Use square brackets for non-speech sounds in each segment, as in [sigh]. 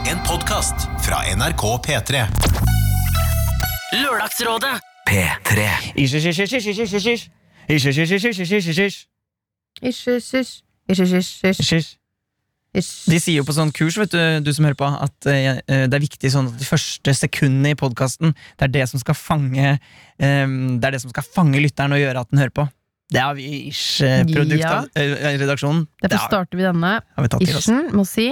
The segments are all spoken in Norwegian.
podkast fra NRK P3. Lørdagsrådet P3 Ish, ish, ish, ish, ish, ish, ish, ish. Ish, ish, ish, ish, ish, ish, ish, ish. Ish, ish, ish. Ish, ish, ish, ish, Ish, ish. ish. De sier jo på sånn kurs, vet du, du som hører på, at eh, det er viktig sånn at de første sekundene i podkasten, det er det som skal fange eh, Det er det som skal fange lytteren og gjøre at den hører på. Det har vi i eh, Ja. Ish-redaksjonen. Derfor har, starter vi denne. har vi tatt til oss. Ishen må si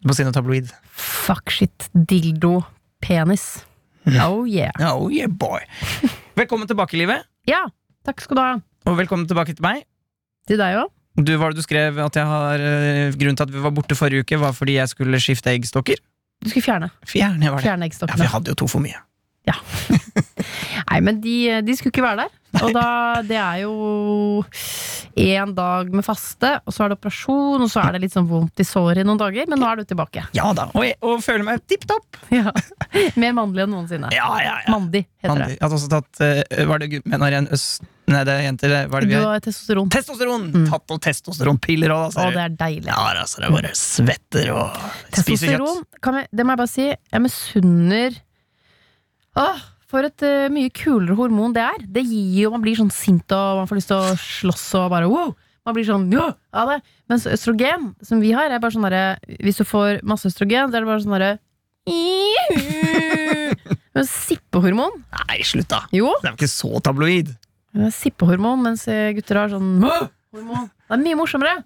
Du må si noe tabloid. fuck shit, dildo, penis. Oh yeah. Oh yeah, boy. Velkommen tilbake i livet, Ja, takk skal du ha. og velkommen tilbake til meg. Til deg òg. Du, hva var det du skrev at jeg har eh, Grunnen til at vi var borte forrige uke, var fordi jeg skulle skifte eggstokker. Du skulle fjerne. Fjerne, var det. Fjerne Ja, for eggstokkene. jeg hadde jo to for mye. Nei, men de, de skulle ikke være der. Og da, [laughs] det er jo én dag med faste, og så er det operasjon, og så er det litt sånn vondt i såret i noen dager, men nå er du tilbake. Ja da, og, jeg, og føler meg tipp topp. Ja. [laughs] Mer mannlig enn noensinne. Ja, ja, ja. Mandig, heter det. Jeg hadde også tatt eh, Var det gutt- men har jeg en øst... Nei, det er jenter. det- Hva er Du det vi har? har testosteron, Testosteron! Mm. Tatt noen testosteronpiller òg, da. og ser du. det er deilig. Ja, altså, det er bare svetter og spiser Testosteron, kjøtt. kan vi, det må jeg bare si, jeg misunner Åh, for et eh, mye kulere hormon det er. Det gir jo, man blir sånn sint og man får lyst til å slåss og bare wow! Man blir sånn ja, av det. Mens østrogen, som vi har, er bare sånn derre Hvis du får masse østrogen, så er det bare sånn derre Men sippehormon? Nei, slutt, da. Jo. Det er jo ikke så tabloid. det er Sippehormon, mens eh, gutter har sånn hormon. Det er mye morsommere.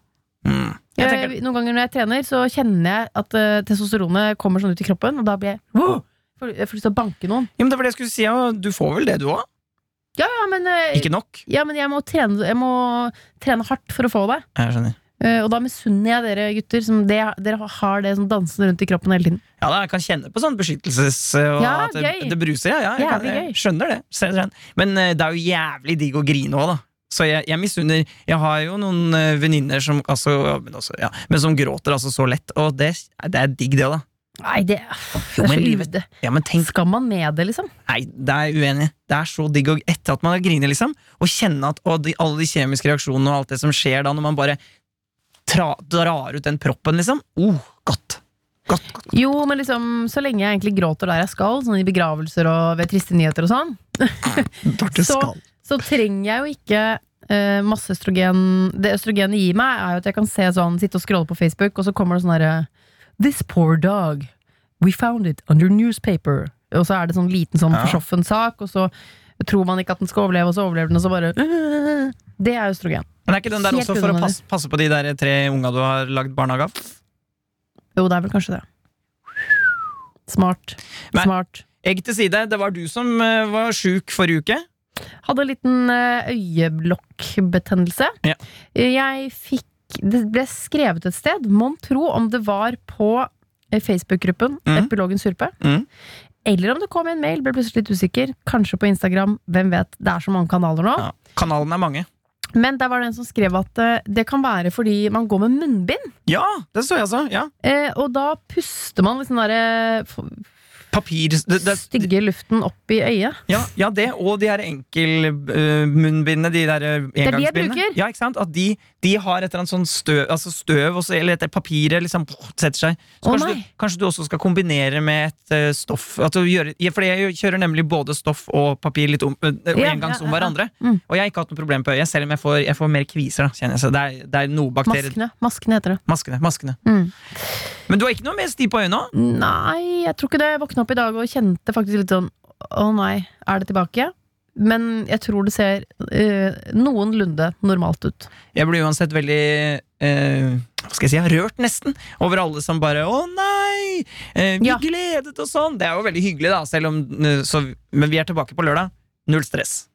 Mm. Jeg Jeg, tenker, Eh, noen ganger når jeg trener, så kjenner jeg at eh, testosteronet kommer sånn ut i kroppen, og da blir jeg wow! Får- Jeg får lyst til å banke noen. ja, men det var det jeg skulle si, og du får vel det, du òg? Ja, ja, men, eh, Ikke nok? ja, men jeg, må trene, jeg må trene hardt for å få det. Jeg skjønner. Eh, og da misunner jeg dere gutter. Som det, dere har det sånn dansende rundt i kroppen hele tiden. Ja, da, jeg kan kjenne på sånn beskyttelses... Og Ja, at det, gøy. det bruser, ja. ja jeg, kan, Jævlig gøy. jeg skjønner det. ser dere. Men eh, det er jo jævlig digg å grine òg, da. Så jeg, jeg misunner Jeg har jo noen eh, venninner som, altså, ja, men også- ja, men som gråter altså så lett, og det, det er digg, det òg, da. Nei, det, det er men så livet- uvde. Ja, men tenk Skal man med det, liksom? Nei, det er jeg uenig. i. Det er så digg å, etter at man har grinet, liksom, å kjenne at å, de, alle de kjemiske reaksjonene og alt det som skjer da, når man bare tra, drar ut den proppen, liksom. Oh, godt. Godt, godt. Jo, men liksom, så lenge jeg egentlig gråter der jeg skal, sånn i begravelser og ved triste nyheter og sånn, Dorte Så- skal. så trenger jeg jo ikke eh, masse østrogen. Det østrogenet gir meg, er jo at jeg kan se sånn, sitte og scrolle på Facebook, og så kommer det sånn herre This poor dog. We found it under newspaper. Og så er det sånn liten sånn Ja. forsoffen sak, og så tror man ikke at den skal overleve, og så overlever den, og så bare [laughs] øh, Det er østrogen. Men er ikke den der Helt også for å unødvendig. passe, passe på de der tre unga du har lagd barnehage av? Jo, det er vel kanskje det. Smart. Men- Smart. Egg til side, det var du som eh, var sjuk forrige uke. Hadde en liten eh, øyeblokkbetennelse. Ja. Jeg fikk Det ble skrevet et sted, mon tro om det var på eh, Facebook-gruppen Mhm. Epilogen Surpe. Mhm. Eller om det kom i en mail, ble plutselig litt usikker. Kanskje på Instagram, hvem vet. Det er så mange kanaler nå. Ja. Kanalen er mange. Men der var det en som skrev at eh, det kan være fordi man går med munnbind. Ja, det så jeg altså. Ja. eh, Og da puster man liksom den derre f- Papir det, det, stygge luften opp i øyet. ja, ja, det og de der enkelmunnbindene, de der eh, er de jeg engangsbindene. bruker. Ja, ikke sant? At de, de har et eller annet sånn støv, altså støv også, eller dette papiret liksom setter seg. Så Å, kanskje, nei. du, kanskje du også skal kombinere med et eh, stoff at du gjør, ja, Fordi jeg kjører nemlig både stoff og papir litt om, eh, og Ja, engangs ja, om ja, ja. hverandre. Mm. Og jeg har ikke hatt noe problem på øyet, selv om jeg får, jeg får mer kviser. Da, kjenner jeg. Så det, er, det er noe bakterier Maskene, maskene heter det. Maskene. maskene. Mm. Men du har ikke noe mer sti på øynene? nå? Nei, jeg tror ikke det. Jeg våkna opp i dag og kjente faktisk litt sånn Å nei, er det tilbake? Men jeg tror det ser eh, noenlunde normalt ut. Jeg blir uansett veldig eh, hva skal jeg si, rørt nesten over alle som bare 'Å nei! eh, vi Ja. gledet oss sånn!' Det er jo veldig hyggelig, da, selv om eh, så, Men vi er tilbake på lørdag. Null stress.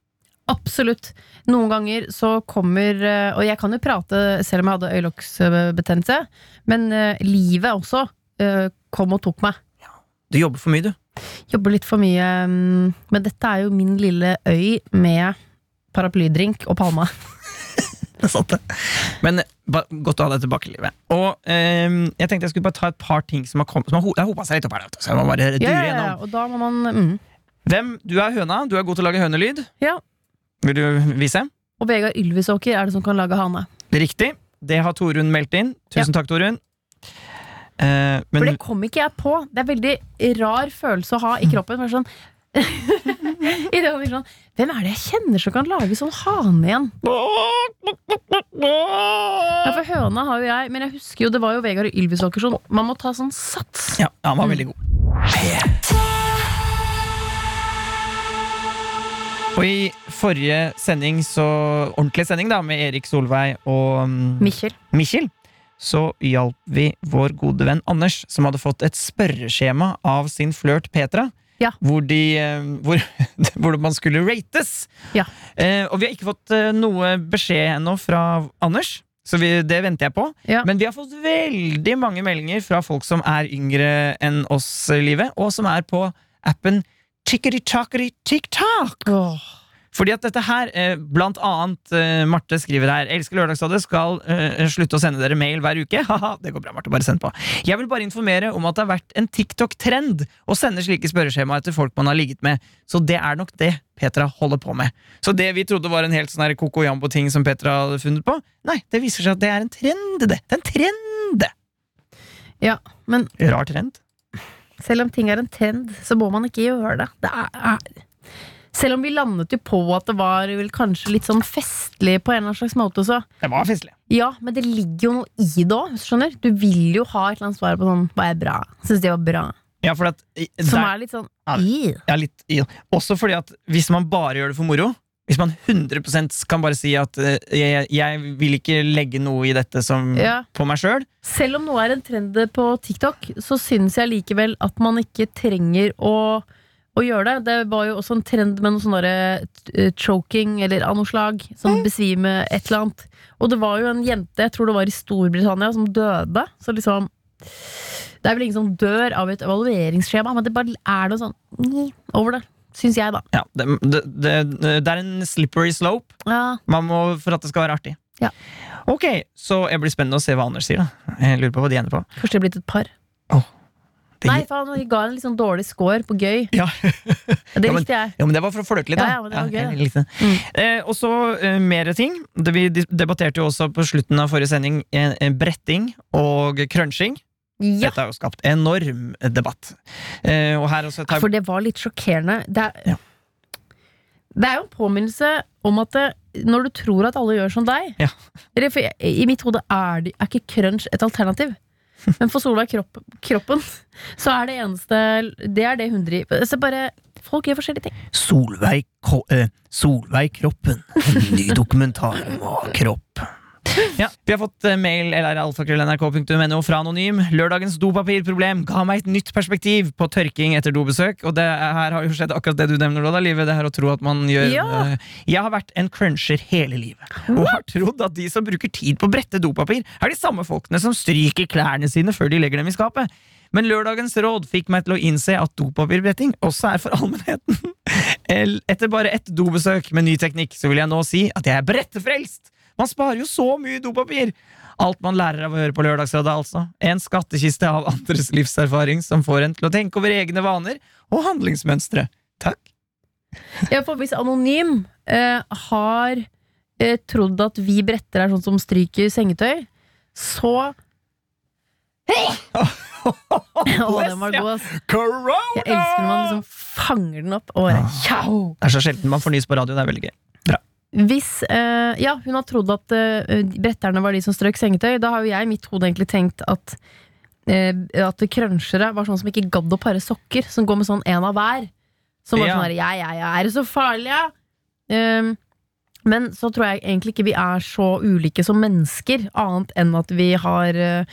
Absolutt. Noen ganger så kommer eh, Og jeg kan jo prate selv om jeg hadde øyelokksbetennelse, men eh, livet også eh, kom og tok meg. Du jobber for mye, du. Jobber litt for mye. mm, Men dette er jo min lille øy med paraplydrink og palme. Det er sant, det. Men eh, ba, godt å ha deg tilbake i livet. Og eh, jeg tenkte jeg skulle bare ta et par ting som har kommet som har ho Det har hopa seg litt opp her, vet du, så jeg må bare dure Ja, ja, ja, gjennom. og da må man mm. Hvem? Du er høna. Du er god til å lage hønelyd. Ja. Vil du vise? Og Vegard Ylvisåker er det som kan lage hane. Riktig. Det har Torunn meldt inn. Tusen takk, Torunn. Eh, men For det kom ikke jeg på. Det er veldig rar følelse å ha i kroppen. Bare sånn, [laughs] I det øyeblikket sånn Hvem er det jeg kjenner som kan lage sånn hane igjen? Ja, for høna har jo jeg, men jeg husker jo det var jo Vegard Ylvisåker sånn. Man må ta sånn sats. ja, han var veldig god. Og i forrige sending, så ordentlig sending, da, med Erik Solveig og mm, Mikkjel. Mikkjel, så hjalp vi vår gode venn Anders, som hadde fått et spørreskjema av sin flørt Petra. Ja. Hvor, de, eh, hvor, [laughs] hvor man skulle rates. Ja. Eh, og vi har ikke fått eh, noe beskjed ennå fra Anders, så vi, det venter jeg på. Ja. Men vi har fått veldig mange meldinger fra folk som er yngre enn oss, eh, livet, og som er på appen Tikkeri-takkeri-tikk-takk. Åh. Fordi at dette her, eh, blant annet eh, Marte skriver her Elsker Lørdagsrådet, skal eh, slutte å sende dere mail hver uke. [laughs] Haha, det går bra, Marte. Bare send på. Jeg vil bare informere om at det har vært en TikTok-trend å sende slike spørreskjemaer til folk man har ligget med. Så det er nok det Petra holder på med. Så det vi trodde var en helt sånn her koko jambo-ting som Petra hadde funnet på, nei, det viser seg at det er en trend, det. Det er en trend! Ja, men Rar trend. selv om ting er en trend, så må man ikke gjøre det. det er, er. Selv om vi landet jo på at det var vel kanskje litt sånn festlig på en eller annen slags måte, så Det var festlig. Ja, men det ligger jo noe i det òg, skjønner du. vil jo ha et eller annet svar på sånn Hva er bra? Syns det var bra. Ja, for at i- Som der- er litt sånn Ja, «Ih». Ja, litt i- Også fordi at hvis man bare gjør det for moro Hvis man 100% kan bare si at eh, jeg, jeg vil ikke legge noe i dette som, Ja. på meg sjøl Selv om noe er en trend på TikTok, så syns jeg likevel at man ikke trenger å, å gjøre det. Det var jo også en trend med noe sånn derre, eh, choking eller av noe slag. Mm. Som besvime et eller annet. Og det var jo en jente, jeg tror det var i Storbritannia, som døde. Så liksom Det er vel ingen som dør av et evalueringsskjema, men det bare er noe sånn «Nyi» over det. Syns jeg, da. ja, det, det, det, det er en slippery slope Ja. Man må for at det skal være artig Ja. Ok, så jeg blir spennende å se hva Anders sier da Jeg lurer på hva de ender på Kanskje det er blitt et par. Det- Nei, faen, vi ga en litt sånn dårlig score på gøy. Ja. Det Ja, men- likte jeg. Ja, men det var for å flørte litt, da. Ja, ja, men det var gøy, Mm. jeg da. likte det. Eh, og så eh, mer ting. Det, vi dis- debatterte jo også på slutten av forrige sending eh, eh, bretting og crunching. Ja, Dette har jo skapt enorm debatt. Eh, og her også tar for det var litt sjokkerende. Det Ja. er, det er jo en påminnelse om at det, når du tror at alle gjør som deg Ja. Eller for jeg- I mitt hode er, det, er ikke crunch et [laughs] alternativ. Men for Solveig kropp, Kroppen så er det eneste Det er det hun driver Så bare, Folk gjør forskjellige ting. Solveig, Ko- eh, Solveig Kroppen. En ny dokumentar om kropp. Ja, vi har fått eh, mail eller alfakrøll.nrk.no fra Anonym. Lørdagens dopapirproblem ga meg et nytt perspektiv på tørking etter dobesøk. Og det er- her har jo skjedd akkurat det du nevner, Lola. Livet, det her å tro at man gjør Ja. eh, Jeg har vært en cruncher hele livet. Og har trodd at de som bruker tid på å brette dopapir, er de samme folkene som stryker klærne sine før de legger dem i skapet. Men lørdagens råd fikk meg til å innse at dopapirbretting også er for [laughs] allmennheten. El- Etter bare ett dobesøk med ny teknikk, så vil jeg nå si at jeg er brettefrelst! Man sparer jo så mye dopapir! Alt man lærer av å høre på Lørdagsrådet, altså. En skattkiste av andres livserfaring som får en til å tenke over egne vaner og handlingsmønstre. [laughs] Takk. Ja, for hvis Anonym eh, har eh, trodd at vi bretter er sånn som stryker sengetøy, [laughs] så Å, den var god, ass. Corona! Jeg elsker når man liksom fanger den opp og bare tjau! Det er så sjelden man får nys på radio. Det er veldig gøy. Hvis eh, Ja, hun har trodd at eh, bretterne var de som strøk sengetøy. Da har jo jeg i mitt hode egentlig tenkt at eh, At crunchere var sånn som ikke gadd å pare sokker, som går med sånn en av hver. Som var Ja. sånn her Ja, ja, ja, er det så farlig, ja? Ehm, men så tror jeg egentlig ikke vi er så ulike som mennesker, annet enn at vi har eh,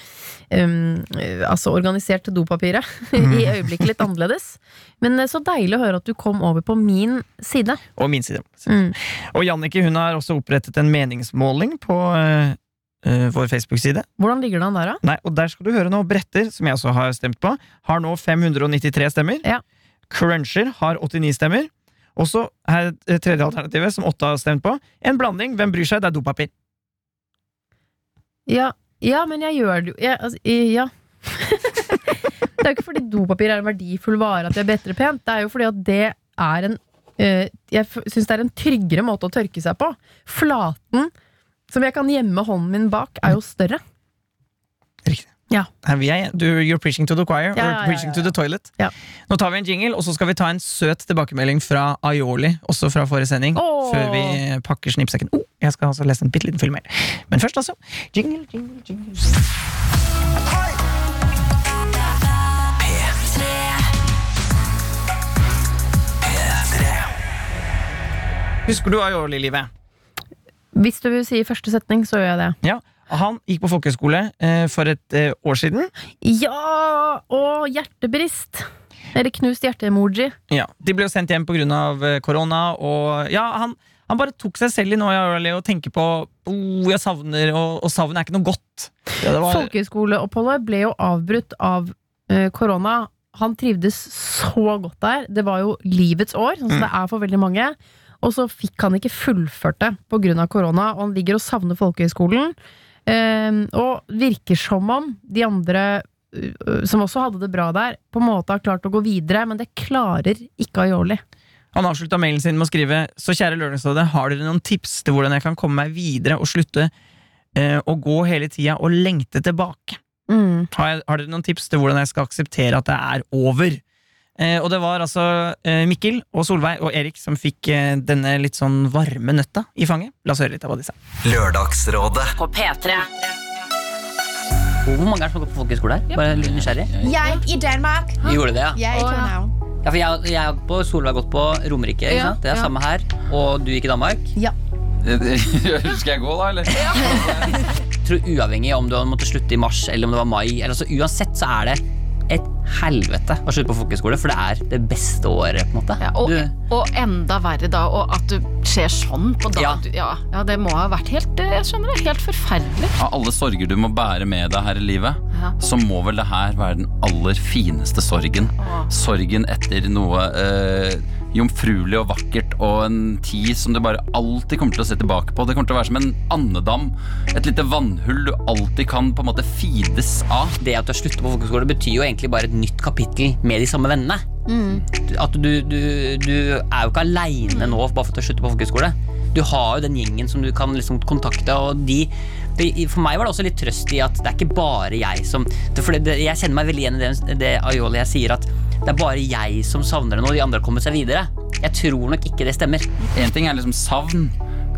um, eh, altså organisert dopapiret [laughs] i øyeblikket litt annerledes. Men eh, så deilig å høre at du kom over på min side. Og min side. Mm. Og Jannicke hun har også opprettet en meningsmåling på eh, eh, vår Facebook-side. Hvordan ligger det an der, da? Nei, og der skal du høre nå. Bretter, som jeg også har stemt på, har nå 593 stemmer. Ja. Cruncher har 89 stemmer. Og så her eh, tredje alternativet, som åtte har stemt på. En blanding. Hvem bryr seg? Det er dopapir. Ja, ja men jeg gjør det jo jeg, altså, i- Ja. [laughs] det er jo ikke fordi dopapir er en verdifull vare at jeg bretter det pent. Det er jo fordi at det er en eh, Jeg syns det er en tryggere måte å tørke seg på. Flaten som jeg kan gjemme hånden min bak, er jo større. Riktig. Ja. Her vi er. Du, you're preaching to the choir. Ja, or ja, preaching ja, to the toilet. Ja. Nå tar vi en jingle, og så skal vi ta en søt tilbakemelding fra Aioli, også fra forrige sending, Åh. før vi pakker snippsekken. Oh, jeg skal altså lese en bitte liten film mer. Men først, altså. Jingle, jingle, jingle. Husker du Aioli-livet? Hvis du vil si første setning, så gjør jeg det. Ja. Han gikk på folkehøyskole eh, for et eh, år siden. Ja! Og hjertebrist. Eller knust hjerte-emoji. Ja, De ble jo sendt hjem pga. eh, korona. Og ja, han, han bare tok seg selv i nå Jarle, og tenker på oh, jeg savner, og, og savn er ikke noe godt. Ja, det var, Folkehøyskoleoppholdet ble jo avbrutt av eh, korona. Han trivdes så godt der. Det var jo livets år, sånn som Mm. det er for veldig mange. Og så fikk han ikke fullført det pga. korona, og han ligger og savner folkehøyskolen. Eh, og virker som om de andre eh, som også hadde det bra der, på en måte har klart å gå videre, men det klarer ikke Aioli. han avslutta mailen sin med å skrive Så kjære Lørdagsrådet, har dere noen tips til hvordan jeg kan komme meg videre og slutte eh, å gå hele tida og lengte tilbake? Mm. Har, jeg, har dere noen tips til hvordan jeg skal akseptere at det er over? Eh, og det var altså eh, Mikkel og Solveig og Erik som fikk eh, denne litt sånn varme nøtta i fanget. La oss høre litt av hva de sa. Lørdagsrådet. På P3. Hvor mange er det som har gått på folkehøyskole her? Bare litt nysgjerrig. Jeg i Danmark. Gjorde det, ja? Jeg i København. ja for jeg, jeg har gått på Solveig har gått på Romerike. Ikke Ja, sant? Det er ja. samme her. Og du gikk i Danmark. Skal jeg gå, da, eller? Jeg tror uavhengig om du måtte slutte i mars eller om det var mai, eller altså, uansett så er det et helvete å slutte på folkehøyskole, for det er det beste året, på en måte. Ja, og, Du- og enda verre da, og at du skjer sånn på dag... Ja. Ja. Ja, det må ha vært helt, eh, jeg skjønner det, helt forferdelig. Av alle sorger du må bære med deg her i livet, Ja. så må vel det her være den aller fineste sorgen. Sorgen etter noe eh, jomfruelig og vakkert og en tid som du bare alltid kommer til å se tilbake på. Det kommer til å være som en andedam. Et lite vannhull du alltid kan på en måte fides av. det at du har sluttet på folkehøyskole betyr jo egentlig bare et nytt kapittel med de samme vennene. At du, du, du er jo ikke aleine nå bare for at du har sluttet på folkehøyskole. Du har jo den gjengen som du kan liksom kontakte, og de det- for meg var det også litt trøst i at det er ikke bare jeg som det- For det, det, Jeg kjenner meg veldig igjen i det, det Aioli jeg sier, at det er bare jeg som savner det nå, de andre har kommet seg videre. Jeg tror nok ikke det stemmer. En ting er liksom savn.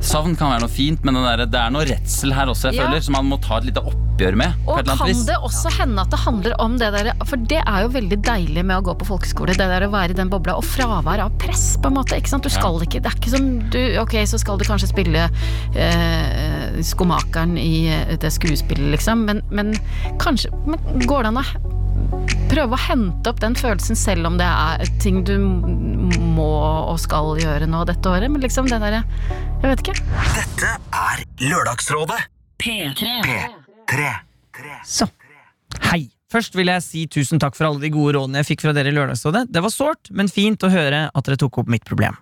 Savn kan være noe fint, men den der, det er noe redsel her også, jeg Ja. føler, som man må ta et lite oppgjør med. på Og et eller kan annet vis. det også hende at det handler om det der, for det er jo veldig deilig med å gå på folkeskole, det der å være i den bobla, og fravær av press, på en måte, ikke sant? Du skal ikke, det er ikke som du, ok, så skal du kanskje spille eh, skomakeren i eh, det skuespillet, liksom, men, men kanskje, men går det an å he- prøve å hente opp den følelsen, selv om det er ting du m- må og skal gjøre nå dette året, men liksom det der, jeg vet ikke. Dette er Lørdagsrådet. P3. Så, hei. Først vil jeg si tusen takk for alle de gode rådene jeg fikk fra dere i Lørdagsrådet. Det var sårt, men fint å høre at dere tok opp mitt problem.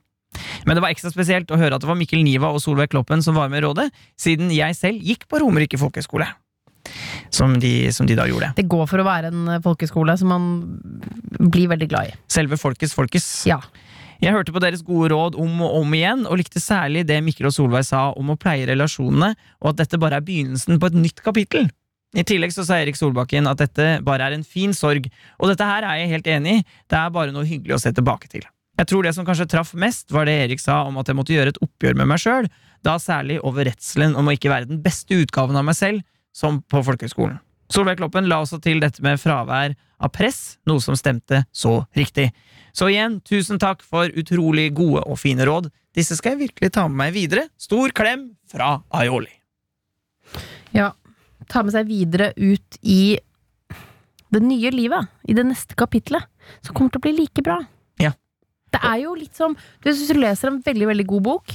Men det var ekstra spesielt å høre at det var Mikkel Niva og Solveig Kloppen som var med i rådet, siden jeg selv gikk på Romerike folkehøgskole. Som de, som de da gjorde. Det går for å være en eh, folkeskole som man blir veldig glad i. Selve folkets folkes. Ja. Jeg hørte på deres gode råd om og om igjen, og likte særlig det Mikkel og Solveig sa om å pleie relasjonene, og at dette bare er begynnelsen på et nytt kapittel. I tillegg så sa Erik Solbakken at dette bare er en fin sorg, og dette her er jeg helt enig i, det er bare noe hyggelig å se tilbake til. Jeg tror det som kanskje traff mest, var det Erik sa om at jeg måtte gjøre et oppgjør med meg sjøl, da særlig over redselen om å ikke være den beste utgaven av meg selv, som på folkehøgskolen. Solveig Kloppen la også til dette med fravær av press, noe som stemte så riktig. Så igjen, tusen takk for utrolig gode og fine råd. Disse skal jeg virkelig ta med meg videre. Stor klem fra Aioli. Ja. Ta med seg videre ut i det nye livet. I det neste kapitlet. Som kommer til å bli like bra. Ja. Det er jo litt som du, Hvis du leser en veldig, veldig god bok,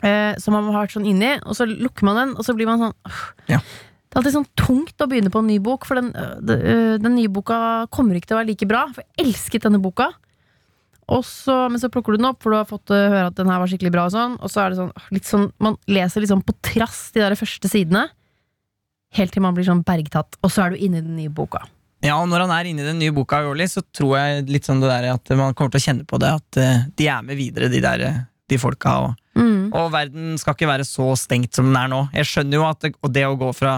eh, som man har vært sånn inni, og så lukker man den, og så blir man sånn «Åh». Ja. Det er alltid sånn tungt å begynne på en ny bok, for den, øh, det, øh, den nye boka kommer ikke til å være like bra. For jeg elsket denne boka. Og så, men så plukker du den opp, for du har fått øh, høre at den her var skikkelig bra. Og sånn, og så er det sånn, «Åh», litt sånn man leser litt sånn på trass de der første sidene. Helt til man blir sånn bergtatt, og så er du inne i den nye boka. Ja, og Når han er inne i den nye boka, Aioli, så tror jeg litt sånn det der at man kommer til å kjenne på det at eh, de er med videre, de der eh, de folka. Og, og verden skal ikke være så stengt som den er nå. Jeg skjønner jo at det, og det å gå fra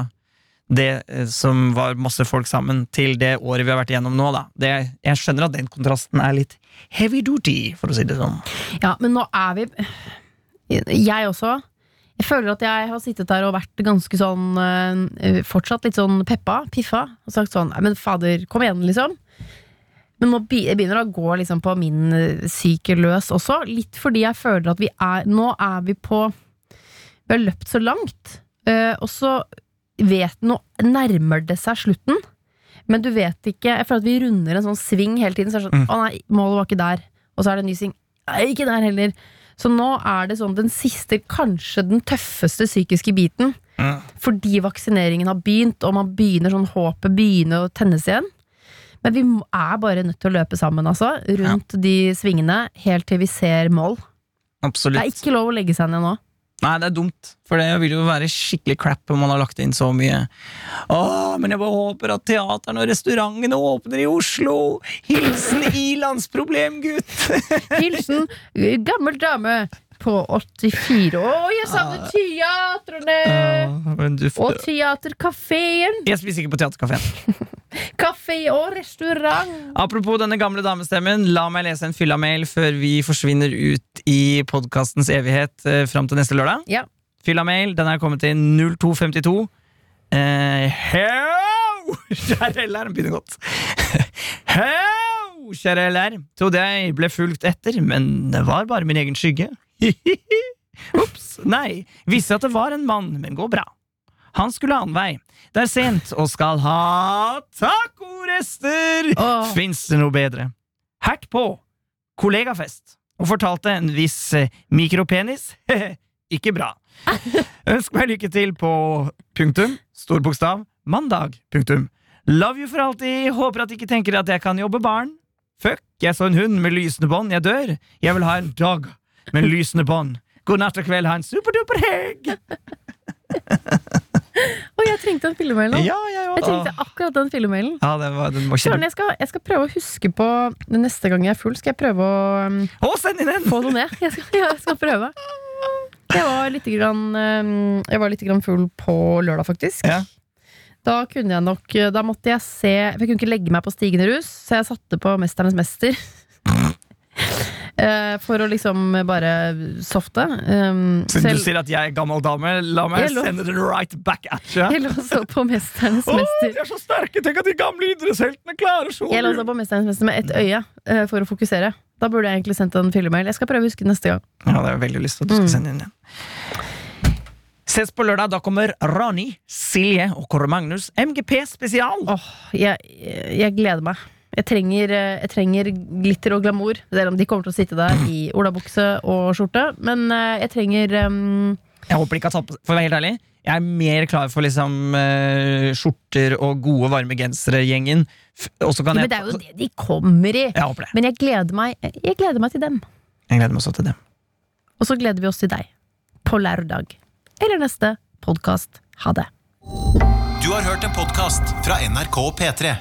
det eh, som var masse folk sammen, til det året vi har vært igjennom nå. Da. Det, jeg skjønner at den kontrasten er litt heavy duty, for å si det sånn. Ja, men nå er vi Jeg også. Jeg føler at jeg har sittet der og vært ganske sånn eh, Fortsatt litt sånn peppa, piffa, og sagt sånn Nei, men fader, kom igjen, liksom. Men nå be- begynner det å gå liksom på min eh, syke løs også. Litt fordi jeg føler at vi er Nå er vi på Vi har løpt så langt. eh, og så vet Nå nærmer det seg slutten. Men du vet ikke Jeg føler at vi runder en sånn sving hele tiden. Så er det sånn, Å nei, målet var ikke der. Og så er det en ny sving. Nei, ikke der heller. Så nå er det sånn den siste, kanskje den tøffeste psykiske biten. Fordi vaksineringen har begynt, og man begynner sånn håpet begynner å tennes igjen. Men vi må- er bare nødt til å løpe sammen, altså. Rundt de svingene, helt til vi ser mål. Det Absolutt. er ikke lov å legge seg ned nå. Nei, det er dumt, for det vil jo være skikkelig crap om man har lagt inn så mye. Åh, men jeg bare håper at teaterne og restaurantene åpner i Oslo! Hilsen ilandsproblemgutt! Hilsen gammel dame på 84. Å, jeg savner teatrene! [laughs] Åh, men du Og får... teaterkafeen! Jeg spiser ikke på teaterkafeen. Kafé og restaurant! Apropos denne gamle damestemmen, la meg lese en fylla-mail før vi forsvinner ut i podkastens evighet eh, fram til neste lørdag. Ja. Fylla-mail, den er kommet til 0252. Eh, Heo! [laughs] Kjære LR, den begynner godt. [laughs] Heo! Kjære LR, trodde jeg ble fulgt etter, men det var bare min egen skygge. [laughs] Ops, nei. Visste at det var en mann, men går bra. Han skulle annen vei. Det er sent og skal ha tacorester! Åh. Fins det noe bedre? Hert på! Kollegafest. Og fortalte en viss eh, mikropenis [laughs] ikke bra. Ønsk meg lykke til på punktum, stor bokstav, mandag, punktum. Love you for alltid, håper at de ikke tenker at jeg kan jobbe barn. Fuck, jeg så en hund med lysende bånd, jeg dør. Jeg vil ha en dog med lysende bånd. God natt og kveld, ha en superduper helg! Å, jeg trengte den filmmailen nå. Ja, ja, Jeg trengte akkurat den filmmailen. Ja, den var, den var Søren, ikke... jeg skal, jeg skal prøve å huske på Neste gang jeg er full, skal jeg prøve å um, Å, send inn en! få det ned. Jeg skal, [laughs] jeg skal prøve. Jeg var litt, grann, um, jeg var litt grann full på lørdag, faktisk. Ja. Da kunne jeg nok Da måtte jeg se For jeg kunne ikke legge meg på stigende rus, så jeg satte på Mesternes mester. [laughs] Eh, For å liksom bare softe. Um, Så du så jeg- sier at jeg er gammel dame, la meg Jeg lå- sende den right back at you. jeg lå og så på Mesternes Å, mester. de er så sterke! Tenk at de gamle idrettsheltene klarer så Jeg låste på Mesterens mester med ett øye eh, for å fokusere. Da burde jeg egentlig sendt en fyllemail. Jeg skal prøve å huske det neste gang. Ja, det har jeg veldig lyst til at du skal Mm. sende inn igjen. Ses på lørdag. Da kommer Rani, Silje og Kåre Magnus MGP spesial. Åh, jeg, jeg gleder meg. Jeg trenger, eh, jeg trenger glitter og glamour. Selv om de kommer til å sitte der i olabukse og skjorte. Men eh, jeg trenger ehm, em, Jeg håper de ikke har tatt på For å være helt ærlig, jeg er mer klar for liksom eh, skjorter og gode, varme gensere-gjengen. F- Og så kan Men jeg det er jo det de kommer i! Jeg håper det. Men jeg gleder meg, jeg gleder meg til dem. Jeg gleder meg også til det. Og så gleder vi oss til deg. På lørdag. Eller neste podkast. Ha det. Du har hørt en podcast fra NRK P3.